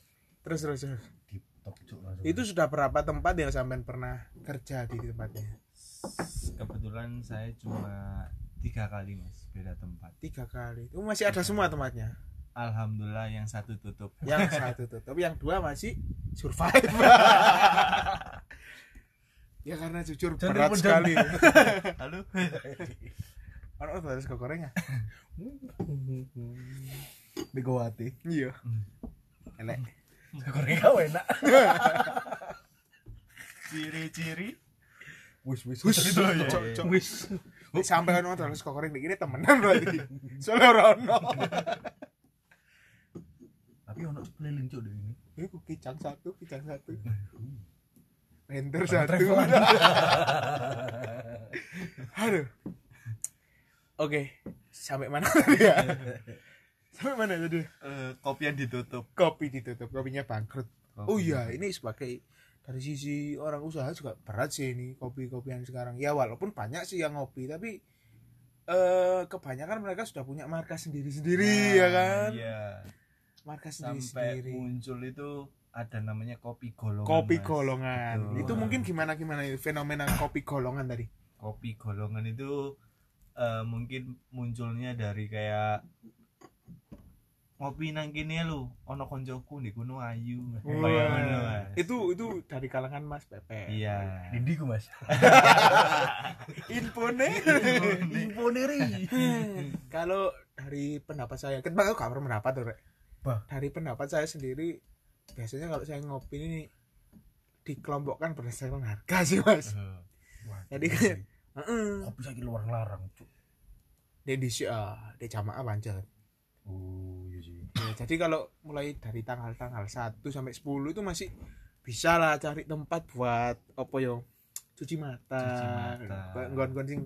Speaker 2: terus terus, terus.
Speaker 1: Di tok cuk langsung.
Speaker 2: itu sudah berapa tempat yang sampean pernah kerja di tempatnya
Speaker 3: kebetulan saya cuma tiga kali mas beda tempat
Speaker 2: tiga kali itu masih ada semua tempatnya
Speaker 3: alhamdulillah yang satu tutup
Speaker 2: yang satu tutup yang dua masih survive ya karena jujur
Speaker 1: Jangan
Speaker 2: berat
Speaker 1: dipendam.
Speaker 2: sekali
Speaker 3: lalu
Speaker 2: orang harus ke Korea
Speaker 1: di Gowati.
Speaker 2: iya enak
Speaker 1: Korea enak.
Speaker 3: ciri-ciri
Speaker 1: Wis wis
Speaker 2: Wis, iya,
Speaker 1: wis.
Speaker 2: cok, cok, cok. Nek sampai ono terus kok kering ini temenan berarti. Soalnya ora ono.
Speaker 1: Tapi ono keliling cuk di ini.
Speaker 2: Iku Eh, kijang satu, kijang satu. Enter satu.
Speaker 1: Travelan.
Speaker 2: Aduh. Oke, sampai mana tadi ya? Sampai mana tadi?
Speaker 3: eh, kopian ditutup
Speaker 2: Kopi ditutup, kopinya bangkrut.
Speaker 3: Kopi
Speaker 2: Oh iya, ini sebagai dari sisi orang usaha juga berat sih ini kopi-kopian sekarang. Ya walaupun banyak sih yang ngopi, tapi eh kebanyakan mereka sudah punya markas sendiri-sendiri ya
Speaker 3: Nah,
Speaker 2: kan?
Speaker 3: iya.
Speaker 2: Markas
Speaker 3: sampai
Speaker 2: sendiri-sendiri.
Speaker 3: muncul itu ada namanya kopi golongan
Speaker 2: kopi
Speaker 3: Mas.
Speaker 2: golongan
Speaker 3: Betul.
Speaker 2: itu mungkin gimana gimana itu fenomena kopi golongan tadi
Speaker 3: kopi golongan itu eh, mungkin munculnya dari kayak ngopi nang kene lu ono koncoku di Gunung Ayu Kayak ngono, Mas.
Speaker 2: itu itu dari kalangan mas Pepe
Speaker 3: iya
Speaker 1: Dindi ku Mas.
Speaker 2: info nih
Speaker 1: Imponeri.
Speaker 2: kalau dari pendapat saya kan aku gak berpendapat tuh Rek.
Speaker 1: Bah.
Speaker 2: dari pendapat saya sendiri biasanya kalau saya ngopi ini dikelompokkan berdasarkan harga sih mas
Speaker 3: Eh,
Speaker 1: iya
Speaker 2: Jadi kayak- Heeh.
Speaker 1: kopi saiki luar larang cuk.
Speaker 2: di di Syiah, di jamaah panjang
Speaker 1: Oh iya sih.
Speaker 2: Ya, jadi kalau mulai dari tanggal-tanggal 1 sampai 10 itu masih bisa lah cari tempat buat apa yo cuci mata,
Speaker 3: Cuci mata.
Speaker 2: ngon-ngon sing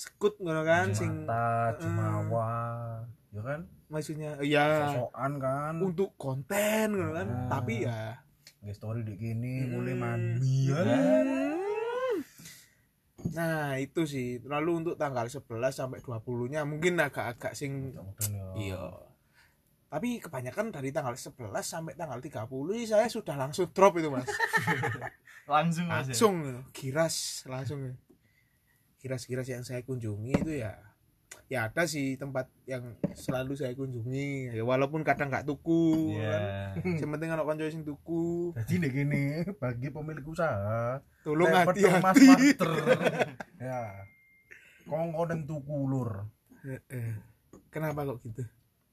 Speaker 2: sekut ngono kan
Speaker 3: Cuci
Speaker 2: sing
Speaker 1: Mata, Jumawa, ya kan?
Speaker 2: maksudnya
Speaker 1: Eh.
Speaker 2: ya
Speaker 1: Sosokan kan.
Speaker 2: untuk konten ngono kan
Speaker 1: Ah.
Speaker 2: tapi ya
Speaker 1: Nge story di kene mulai
Speaker 2: Hmm.
Speaker 1: mandi. ya.
Speaker 2: nah itu sih lalu untuk tanggal 11 sampai 20 nya mungkin agak-agak sing
Speaker 1: Kemudian ya.
Speaker 2: Iya. Tapi kebanyakan dari tanggal 11 sampai tanggal 30 sih saya sudah langsung drop itu, Mas.
Speaker 3: langsung mas ya?
Speaker 2: langsung giras langsung. Giras-giras yang saya kunjungi itu ya ya ada sih tempat yang selalu saya kunjungi ya walaupun kadang nggak tuku kan.
Speaker 3: Iya.
Speaker 1: Nah,
Speaker 2: Yang penting kalau konco sing tuku
Speaker 1: Jadi nih gini bagi pemilik usaha,
Speaker 2: tolong
Speaker 1: lek pedang Mas
Speaker 2: hati-hati
Speaker 1: Marter. ya. Kongko dan tuku lur.
Speaker 2: Eh, eh. kenapa kok gitu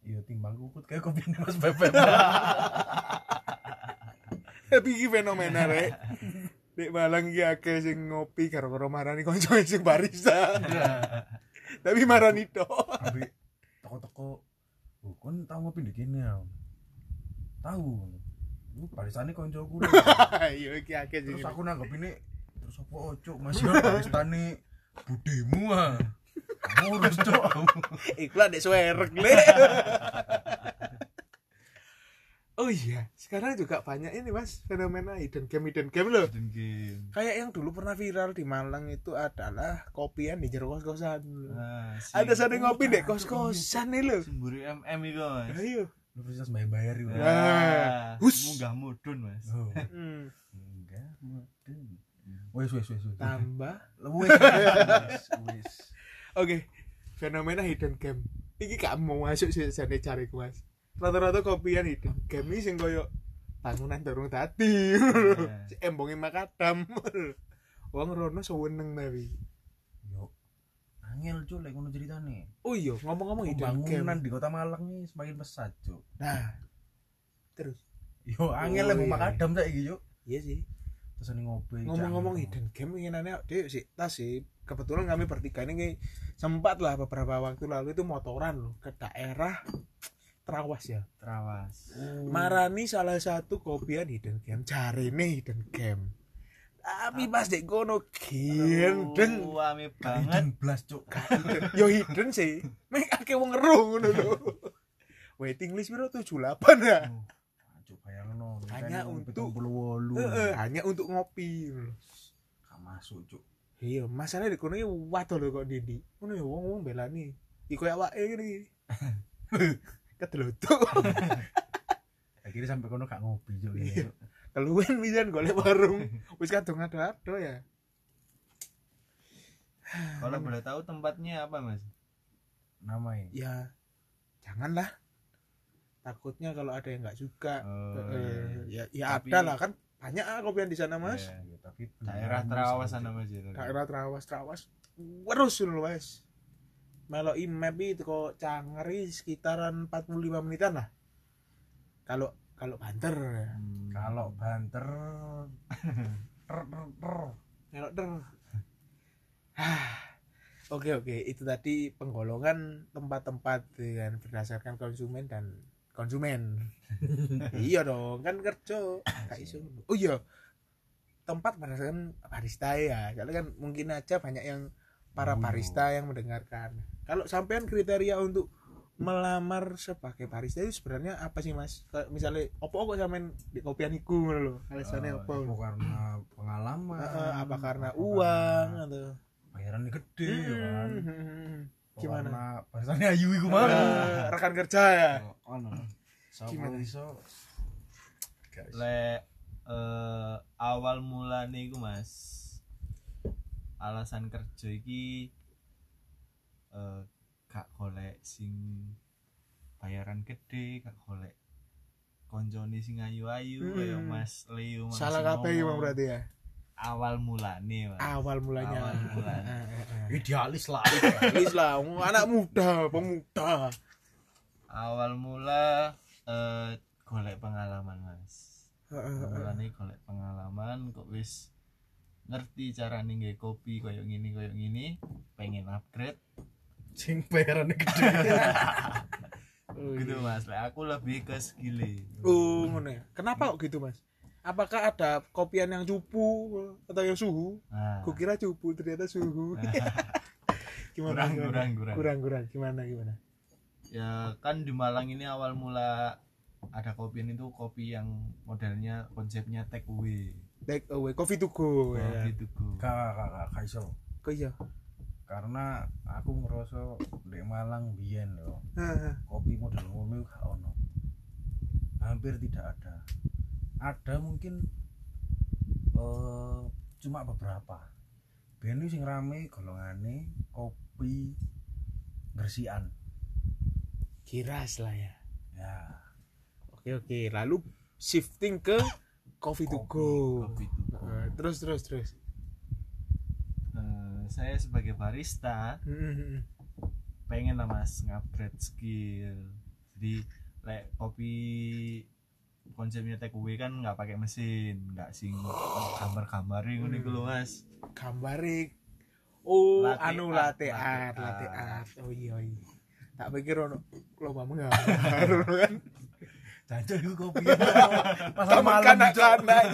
Speaker 1: Iya timbang kukut kayak kopi nih Mas Bebek.
Speaker 2: tapi ini fenomena rek Dek Malang iki akeh sing ngopi karo-karo marani konco sing barista. Tapi marani tok.
Speaker 1: Tapi toko-toko "Oh, kon tau ngopi di kene ya. Tahu. Lu barisane koncoku. lho."
Speaker 2: Yo iki akeh sing.
Speaker 1: Terus
Speaker 2: ngene.
Speaker 1: aku nanggep ini terus apa oh, cuk Mas yo baristane budimu ah. Ngurus cuk.
Speaker 2: Iklan dek suerek le. oh iya, sekarang juga banyak ini mas fenomena hidden game hidden game loh.
Speaker 3: Dan game.
Speaker 2: Kayak yang dulu pernah viral di Malang itu adalah kopian di jero kos-kosan.
Speaker 3: Nah, si-
Speaker 2: Oh, Ada sana ngopi dek kos-kosan nih loh.
Speaker 3: Semburi MM itu mas.
Speaker 2: Ayo.
Speaker 1: Lu princess bayar-bayar yo.
Speaker 3: Nah,
Speaker 2: Hus.
Speaker 3: munggah mudun mas.
Speaker 1: Oh,
Speaker 2: Hmm,
Speaker 1: enggak mudeng. Wes wes wes wes.
Speaker 2: tambah.
Speaker 1: Wes wes wes.
Speaker 2: Oke, fenomena hidden game. Iki gak mau masuk sih jadi cari mas. Rata-rata kopian hidden game ini sing koyo bangunan dorong tadi.
Speaker 3: Nah,
Speaker 2: Si embonge makadam. Wong rono seweneng tapi.
Speaker 1: Yo. Angel cuk lek ngono ceritane.
Speaker 2: Oh iya, ngomong-ngomong hidden
Speaker 1: Pembangunan
Speaker 2: game.
Speaker 1: di Kota Malang nih semakin pesat cuk.
Speaker 2: Nah. Terus.
Speaker 1: Yo angel
Speaker 2: Oh,
Speaker 1: lek mau
Speaker 2: iya,
Speaker 1: makadam saiki cuk.
Speaker 2: Iya sih.
Speaker 1: Terus ini ngopi. cak.
Speaker 2: Ngomong-ngomong hidden game inginannya deh sih tas sih. Kebetulan kami bertiga ini kayak sempat lah beberapa waktu lalu itu motoran loh ke daerah Trawas ya.
Speaker 3: terawas.
Speaker 1: Oh.
Speaker 2: Marani salah satu kopian hidden game cari nih hidden game tapi pas dek kono gendeng
Speaker 3: Aduh, Ame banget.
Speaker 1: Hidden blast cuk.
Speaker 2: yo hidden sih mek akeh wong ngerung ngono lho waiting list biro 78 ya
Speaker 1: Ah, Cuk bayangno.
Speaker 2: Hanya
Speaker 1: kan
Speaker 2: untuk-
Speaker 1: 78.
Speaker 2: Heeh, hanya untuk ngopi
Speaker 1: Gak masuk cuk.
Speaker 2: iya masalah dek kono iki waduh lho kok Didi ngono ya wong-wong belani iku ya awake ngene kedelutuk
Speaker 1: Akhirnya sampai kono gak ngopi cuk.
Speaker 2: Iya.
Speaker 1: ya, Cuk.
Speaker 2: keluwen pisan golek warung wis kadung ado-ado ya
Speaker 3: Kalau boleh tahu tempatnya apa mas?
Speaker 1: Namanya.
Speaker 2: ya janganlah takutnya kalau ada yang nggak suka
Speaker 3: Oh,
Speaker 2: Eh,
Speaker 3: iya.
Speaker 2: ya ya
Speaker 3: Tapi-
Speaker 2: ada lah kan banyak ah kopian di sana mas
Speaker 3: Iya.
Speaker 1: Ya, tapi
Speaker 3: Daerah terawas sana mas. ya, tadi.
Speaker 2: daerah terawas terawas terus lu mas melo map itu kok cangri sekitaran 45 menitan lah kalau kalau banter ya.
Speaker 3: Hmm.
Speaker 1: Kalau banter ter, ter, ter.
Speaker 2: melok der Hah. oke oke itu tadi penggolongan tempat-tempat dengan berdasarkan konsumen dan konsumen iya dong kan kerja gak iso oh iya tempat berdasarkan barista ya soalnya kan mungkin aja banyak yang
Speaker 1: Oh,
Speaker 2: para
Speaker 1: iya.
Speaker 2: barista yang mendengarkan kalau sampean kriteria untuk melamar sebagai barista itu sebenarnya apa sih mas Kayak misalnya opo kok sampean di kopian iku ngono lho alasannya
Speaker 3: Oh,
Speaker 2: opo
Speaker 1: Apa karena pengalaman?
Speaker 2: Heeh, apa karena Iya,
Speaker 1: Apa
Speaker 2: uang
Speaker 1: karena
Speaker 2: atau
Speaker 1: Bayarannya gede ya kan.
Speaker 2: Hmm.
Speaker 1: Apa
Speaker 2: Gimana?
Speaker 1: Karena bahasannya ayu iku mau.
Speaker 2: Eh, rekan kerja ya
Speaker 1: Ah. Ono. Sapa
Speaker 2: Gimana?
Speaker 1: iso? Gak iso.
Speaker 3: Lek eh, awal mulane iku Mas. Alasan kerja iki eh gak golek sing bayaran gede, gak golek koncone sing ayu-ayu
Speaker 2: Hmm.
Speaker 3: kaya Mas Leo Mas.
Speaker 2: salah kabeh emang berarti Ah. ya
Speaker 3: Awal mulane, Mas.
Speaker 2: awal mulanya
Speaker 3: Awal mulane.
Speaker 1: Idealis lah.
Speaker 2: Please lah wong anak muda pemuda
Speaker 3: Awal mula eh golek pengalaman, Mas. mulane golek pengalaman kok wis ngerti carane nggae kopi koyo ngini koyo ngini pengen upgrade
Speaker 1: Sing bayarannya gede.
Speaker 3: gitu mas Lah, aku lebih ke e. skille
Speaker 2: iya. oh ngono ya kenapa kok gitu mas apakah ada kopian yang cupu atau yang suhu
Speaker 3: nah,
Speaker 2: Gua kira cupu ternyata suhu gimana gimana?
Speaker 3: gitu? kurang, kurang, kurang.
Speaker 2: Eh, kurang kurang gimana gimana
Speaker 3: ya kan di Malang ini awal mula ada kopi itu kopi yang modelnya konsepnya take away
Speaker 2: take away coffee to go ya
Speaker 3: gitu go
Speaker 1: Gak gak gak gak iso.
Speaker 2: kok iya
Speaker 1: Karena aku ngerasa di Malang biyen loh.
Speaker 2: Heeh.
Speaker 1: kopi model ngono gak ono hampir tidak ada ada mungkin eh cuma beberapa Benu sing rame golongane kopi Gersian.
Speaker 2: kiras lah ya
Speaker 1: Ya.
Speaker 2: oke oke lalu shifting ke coffee to go
Speaker 3: Kopi to go.
Speaker 2: Nah, terus terus terus
Speaker 3: Eh, saya sebagai barista
Speaker 2: Mm-mm.
Speaker 3: pengen lah mas ngupgrade skill jadi lek kopi konsepnya take away kan nggak pakai mesin nggak sing gambar-gambarin ngono iku lho mas
Speaker 2: gambare oh
Speaker 3: Latte
Speaker 2: anu
Speaker 3: art,
Speaker 2: latte art
Speaker 3: latte
Speaker 2: latte art
Speaker 3: art.
Speaker 2: oh iya iya tak pikir ono lomba menggambar ono kan
Speaker 4: Jajan gue kopi.
Speaker 2: Taman
Speaker 4: Pasar malam
Speaker 2: kanak kanak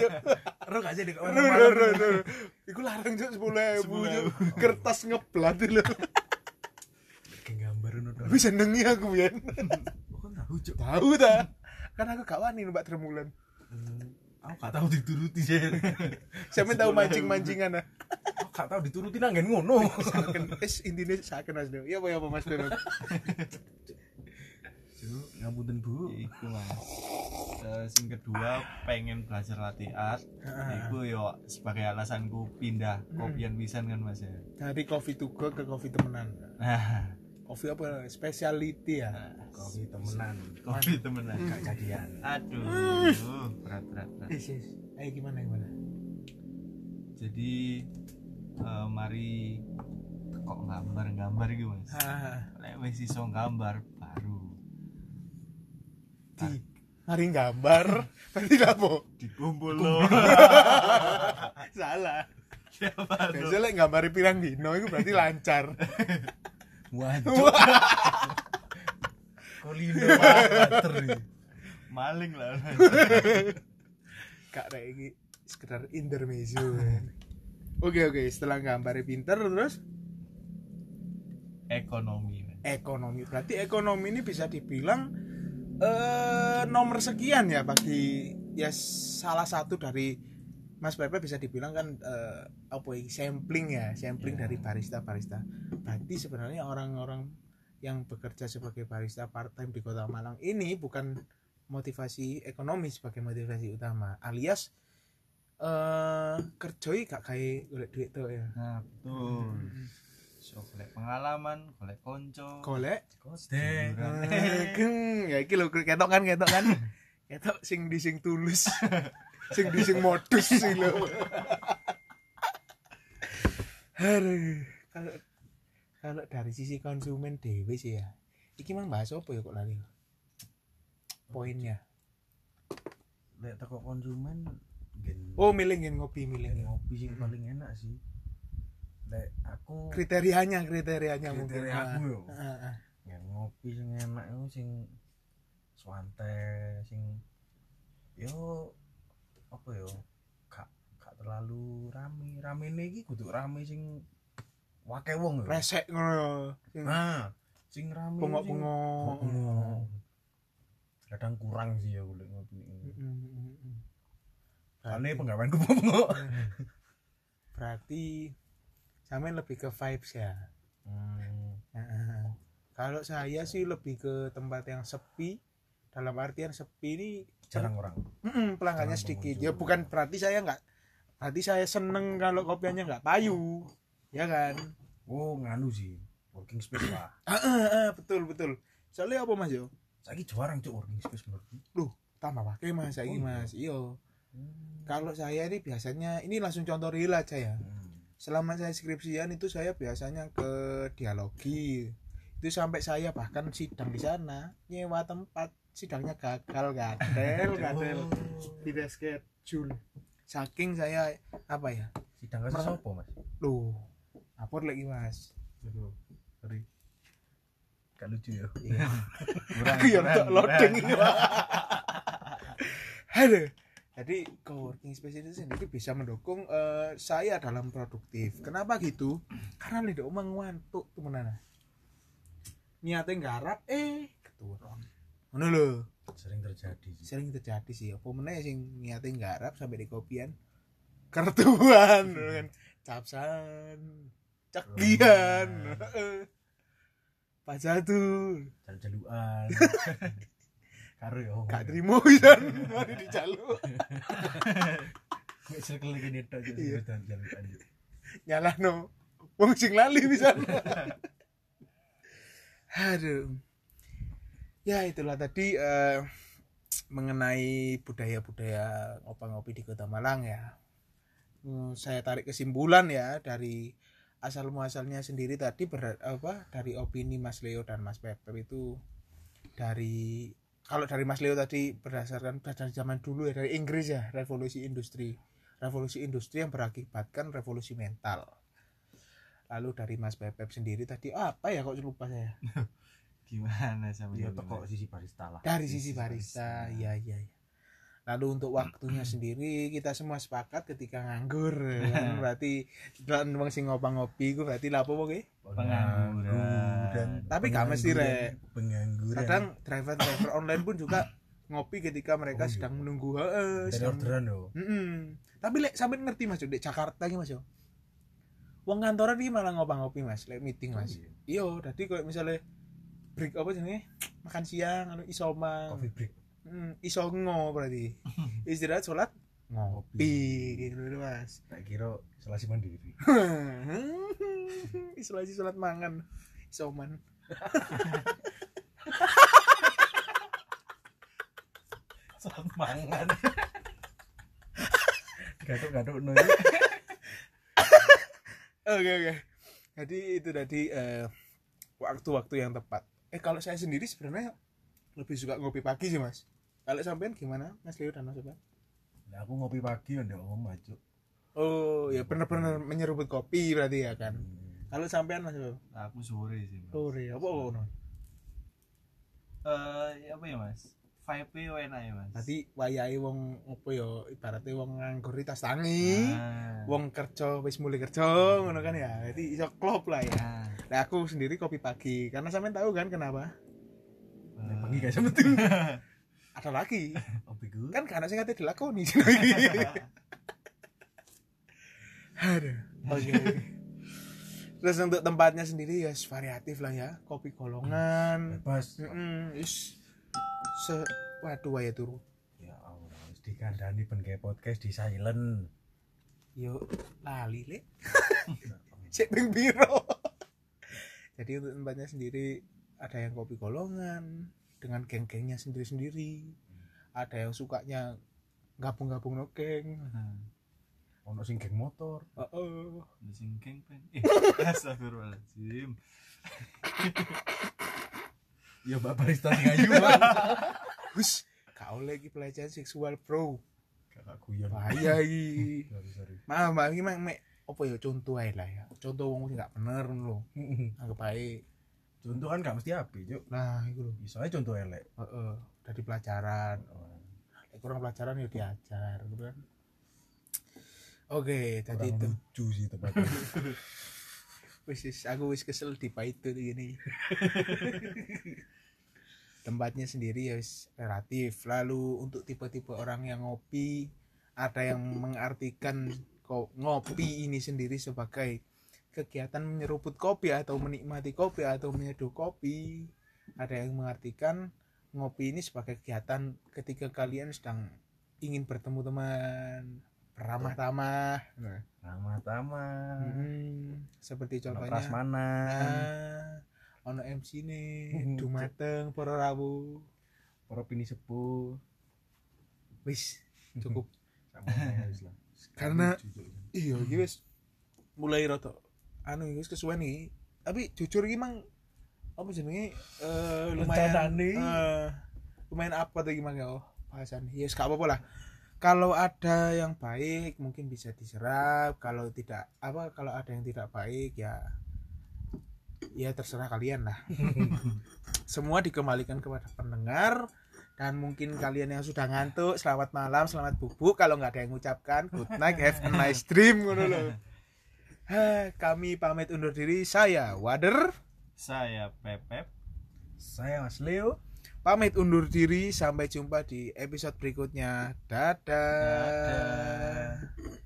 Speaker 4: Ro gak sih di pasar
Speaker 2: Ruh, ruh,
Speaker 4: malam.
Speaker 2: ruh, ruh. Iku larang cuk 10.000 cuk. Kertas ngeblat lho.
Speaker 4: Kayak gambar ngono dong.
Speaker 2: Tapi senengi aku ya.
Speaker 4: Kok kan tahu cuk.
Speaker 2: Tahu ta? Kan aku gak wani numpak tremulan.
Speaker 1: Hmm,
Speaker 4: Aku gak tahu dituruti sih.
Speaker 2: Sampe tahu mancing-mancingan ah.
Speaker 1: Kok gak tau dituruti nanggen ngono.
Speaker 2: Saken es intine saken Mas Dewo. Iya apa ya apa Mas Dewo?
Speaker 4: Cuk, ngapunten Bu.
Speaker 3: itu mas Eh, sing kedua pengen belajar latte art
Speaker 2: Ah,
Speaker 3: itu yo sebagai alasanku pindah kopian pisan kan mas ya
Speaker 2: Dari coffee to go ke coffee temenan.
Speaker 3: nah
Speaker 2: Coffee apa? Speciality ya.
Speaker 1: Kopi temenan.
Speaker 3: kopi temenan
Speaker 1: Gak jadian.
Speaker 3: aduh berat berat, berat.
Speaker 2: Is, is. Ayo gimana gimana?
Speaker 3: jadi eh, mari kok gambar gambar gitu mas
Speaker 2: Ah,
Speaker 3: lek wis iso gambar baru
Speaker 2: di mari gambar. Tadi lapo?
Speaker 3: dikumpul lo
Speaker 2: Ah, Salah.
Speaker 3: siapa tuh
Speaker 2: Biasanya lek gambari pirang dino itu berarti lancar.
Speaker 4: Waduh. Kolindo banget.
Speaker 3: maling lah
Speaker 2: Kak Rek ini sekedar intermezzo. Oke oke, setelah gambarnya pinter terus
Speaker 3: ekonomi Mas.
Speaker 2: ekonomi. Berarti ekonomi ini bisa dibilang eh nomor sekian ya bagi ya salah satu dari Mas Pepe bisa dibilang kan eh, apa ya, sampling ya, sampling dari barista-barista. Berarti sebenarnya orang-orang yang bekerja sebagai barista part time di Kota Malang ini bukan motivasi ekonomi sebagai motivasi utama, alias eh kerjoi gak kayak golek duit tuh ya.
Speaker 3: nah betul so golek pengalaman golek konco
Speaker 2: Golek
Speaker 4: Kode.
Speaker 2: Kan. Geng, ya iki lho ketok kan ketok kan. Ketok sing di sing tulus. sing di sing modus sih lho. Aduh, kalau kalau dari sisi konsumen dewe sih ya. Iki mang bahas apa ya kok lali? Poinnya.
Speaker 1: Lek teko konsumen gen
Speaker 2: Oh, milih ngen ngopi, milih ngen.
Speaker 1: ngopi sing paling enak sih. Lek aku
Speaker 2: Kriterianya, kriterianya mungkin.
Speaker 1: kriteria aku yo.
Speaker 2: Ah, ah, ah.
Speaker 1: ya ngopi sing enak iku sing swante sing yo apa yo gak gak terlalu rame rame iki kudu rame sing wake wong yo.
Speaker 2: Resek ngono. Sing
Speaker 1: nah sing rame iku sing-
Speaker 2: pengok-pengok. Oh.
Speaker 1: Pengok-pengok. kadang kurang sih ya kulit ngopi ini
Speaker 2: Mm, mm, mm, mm.
Speaker 1: soalnya penggaweanku pengok
Speaker 2: Berarti sampean lebih ke vibes ya.
Speaker 1: hmm,
Speaker 2: Heeh. Kalau saya sih lebih ke tempat yang sepi. Dalam artian sepi ini
Speaker 1: jarang orang
Speaker 2: Mm-mm, pelanggannya
Speaker 1: jarang
Speaker 2: sedikit.
Speaker 1: pengunjung.
Speaker 2: Ya bukan berarti saya nggak berarti saya seneng kalau kopiannya nggak payu. Ya kan?
Speaker 1: oh nganu sih working space lah
Speaker 2: Heeh, heeh, betul betul. Soalnya apa Mas yo?
Speaker 1: saiki jarang cuk working space menurutku
Speaker 2: Tambah pakai Mas
Speaker 1: Oh, iya.
Speaker 2: saiki Mas. Iyo. Kalau saya ini biasanya ini langsung contoh real aja ya.
Speaker 1: Hmm.
Speaker 2: selama saya skripsian itu saya biasanya ke dialogi itu sampai saya bahkan sidang di sana nyewa tempat sidangnya gagal gatel gatel tidak schedule saking saya apa ya
Speaker 1: sidang kasih
Speaker 2: Merasa-
Speaker 1: sopo mas
Speaker 2: loh apot lagi mas
Speaker 1: gak lucu ya
Speaker 3: kurang
Speaker 2: aku yang Iya, tak loading ini Pak. Aduh. Jadi co-working space itu sendiri bisa mendukung eh, saya dalam produktif. Kenapa gitu? Karena lidah omong ngantuk temenan. Niatnya garap eh keturun. Ngono lho,
Speaker 1: sering terjadi sih.
Speaker 2: sering terjadi sih. Apa meneh sing niatnya garap sampai di kopian kertuan ngono kan. Capsan, cekian. Pak Jatuh.
Speaker 1: jalan jaluan karo ya, yo
Speaker 2: gak terima pisan mari dijaluk
Speaker 1: gak circle gini tok
Speaker 2: Iya.
Speaker 1: jalan jaluan
Speaker 2: nyalahno wong sing lali pisan Aduh. Ya itulah tadi eh, mengenai budaya-budaya ngopi-ngopi di Kota Malang ya. Hmm, saya tarik kesimpulan ya dari asal muasalnya sendiri tadi ber, apa dari opini Mas Leo dan Mas Peter itu dari kalau dari Mas Leo tadi berdasarkan dari zaman dulu ya dari Inggris ya revolusi industri revolusi industri yang berakibatkan revolusi mental lalu dari Mas Pepep sendiri tadi apa ya kok lupa saya
Speaker 3: gimana gitu, sama
Speaker 1: Iya,
Speaker 3: Jawa
Speaker 1: teko
Speaker 3: Barat?
Speaker 1: sisi barista lah.
Speaker 2: dari sisi
Speaker 3: Sisi
Speaker 2: barista
Speaker 3: barista.
Speaker 2: ya ya ya lalu untuk waktunya sendiri kita semua sepakat ketika nganggur ya kan? berarti dan wong sing ngopi-ngopi ku berarti lapo oke
Speaker 1: Iya.
Speaker 3: Pengangguran.
Speaker 2: Tapi gak mesti, Rek.
Speaker 4: Pengangguran.
Speaker 2: kadang driver driver online pun juga ngopi ketika
Speaker 1: Oh,
Speaker 2: mereka
Speaker 1: iya.
Speaker 2: sedang menunggu heeh
Speaker 1: Dari
Speaker 2: sedang-
Speaker 1: orderan loh.
Speaker 2: Mm-mm. tapi lek sampean ngerti mas yo, di Jakarta iki mas yo wong kantoran iki malah ngopi-ngopi mas lek meeting mas iya tadi kayak misalnya break apa sih makan siang anu isoma
Speaker 1: Coffee break.
Speaker 2: Hmm, iso ngo berarti. Istirahat sholat ngopi gitu loh, Mas.
Speaker 1: Tak kira isolasi mandiri.
Speaker 2: Isolasi sholat mangan. Isoman.
Speaker 1: Mangan. Gatuk-gatuk ya. no.
Speaker 2: Oke oke. Jadi itu tadi eh, waktu-waktu yang tepat. Eh kalau saya sendiri sebenarnya lebih suka ngopi pagi sih, Mas. Kalau sampean gimana, Mas Leo dan Mas Sobat?
Speaker 1: Nah, aku ngopi pagi ya ndak omah, Cuk.
Speaker 2: Oh, ya bener-bener menyeruput kopi berarti ya kan.
Speaker 1: Hmm.
Speaker 2: Kalau sampean Mas Leo,
Speaker 3: aku sore sih Mas.
Speaker 2: sore apa ono?
Speaker 3: Eh, apa ya mas vibe nya enak ya mas
Speaker 2: Tadi wayahe wong apa ya ibaratnya wong nganggur tas tangi.
Speaker 3: Ah.
Speaker 2: wong kerja wis mulai kerja ngono kan ya jadi iso klop lah ya
Speaker 3: Ah.
Speaker 2: nah aku sendiri kopi pagi karena sampean tahu kan kenapa
Speaker 1: Hmm. Nek Pagi gak semetu.
Speaker 2: ada lagi
Speaker 1: Opi ku.
Speaker 2: kan karena saya kata dilakoni aduh oke terus untuk tempatnya sendiri ya variatif lah ya kopi golongan
Speaker 1: Bebas.
Speaker 2: Mm-mm, is se waduh ya turu
Speaker 1: Ya Allah, wis dikandani ben kayak podcast di silent.
Speaker 2: yo lali le cek ping piro. jadi untuk tempatnya sendiri ada yang kopi golongan dengan geng-gengnya sendiri-sendiri ada yang sukanya gabung-gabung no geng
Speaker 3: Ah.
Speaker 1: Ono sing geng motor.
Speaker 2: oh, oh.
Speaker 3: Ada sing kengpeng eh astagfirullahaladzim
Speaker 1: Ya Mbak barista sing ayu, Bang.
Speaker 2: Hus, kau lagi pelecehan seksual bro
Speaker 1: Kakak guyon.
Speaker 2: bahaya iki
Speaker 1: Sorry, sorry.
Speaker 2: maaf maaf ini mek mek apa ya contoh aja lah ya contoh wong sing gak bener lo anggap baik
Speaker 1: Contoh kan gak mesti api, Cuk.
Speaker 2: nah itu loh
Speaker 1: Bisa ae contoh elek.
Speaker 2: oh, oh. dari pelajaran Eh, kurang pelajaran ya diajar gitu kan oke
Speaker 1: Kurang
Speaker 2: tadi itu
Speaker 1: lucu sih tempatnya.
Speaker 2: wis wis, aku wis kesel di itu gini tempatnya sendiri ya wis relatif lalu untuk tipe-tipe orang yang ngopi ada yang mengartikan ko- ngopi ini sendiri sebagai kegiatan menyeruput kopi atau menikmati kopi atau menyeduh kopi ada yang mengartikan ngopi ini sebagai kegiatan ketika kalian sedang ingin bertemu teman beramah-tamah Nah,
Speaker 1: Ramah-tama.
Speaker 2: mm, seperti
Speaker 1: Ono
Speaker 2: contohnya
Speaker 1: Hmm. prasmanan.
Speaker 2: Ah, ono MC ne
Speaker 1: Mhm.
Speaker 2: dumateng para rawu
Speaker 1: Para pini sepuh.
Speaker 2: wis cukup
Speaker 1: Sama ae wis lah.
Speaker 2: Karena-
Speaker 1: Lucu, Cuk.
Speaker 2: iya iki wis mulai rada anu iki wis kesuwen iki tapi jujur iki mang apa jenenge eh lumayan
Speaker 1: Rencanane.
Speaker 2: eh, lumayan apa tuh gimana oh bahasan ya yes, gak apa-apa lah kalau ada yang baik mungkin bisa diserap kalau tidak apa kalau ada yang tidak baik ya ya terserah kalian lah semua dikembalikan kepada pendengar dan mungkin kalian yang sudah ngantuk selamat malam selamat bubuk kalau nggak ada yang mengucapkan good night have a nice dream ngono lho. Hah, kami pamit undur diri saya Wader
Speaker 3: saya pepep
Speaker 1: Saya Mas Leo.
Speaker 2: pamit undur diri sampai jumpa di episode berikutnya dadah,
Speaker 3: Dadah.